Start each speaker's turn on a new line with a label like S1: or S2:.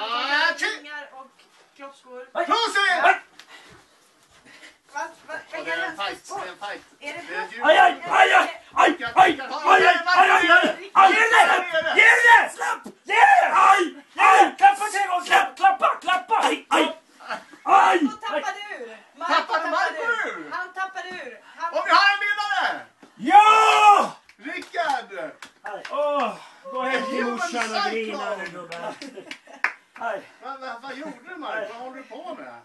S1: Hachi!
S2: Ringar och klockor.
S1: Prosit!
S2: Vad? Vad?
S1: Och Det är en fight, det är en fight.
S2: Är det
S1: Det är djur.
S3: Aj, aj, aj, aj, aj, aj, aj, aj, aj, aj, aj, aj, ge det! Ge det! Släpp! Ge det! Aj, aj, klappa tre gånger, släpp, klappa, klappa! Aj, aj, aj,
S2: Marco
S3: aj.
S2: tappade ur. Marco
S1: Tappade Marco ur?
S2: Han tappade ur. Han...
S1: Och vi har en vinnare!
S3: Ja!
S1: Rickard!
S3: Åh, gå hem till morsan och grina nu gubben. Aj.
S1: Vad, vad, vad gjorde du Mark? Vad håller du på med?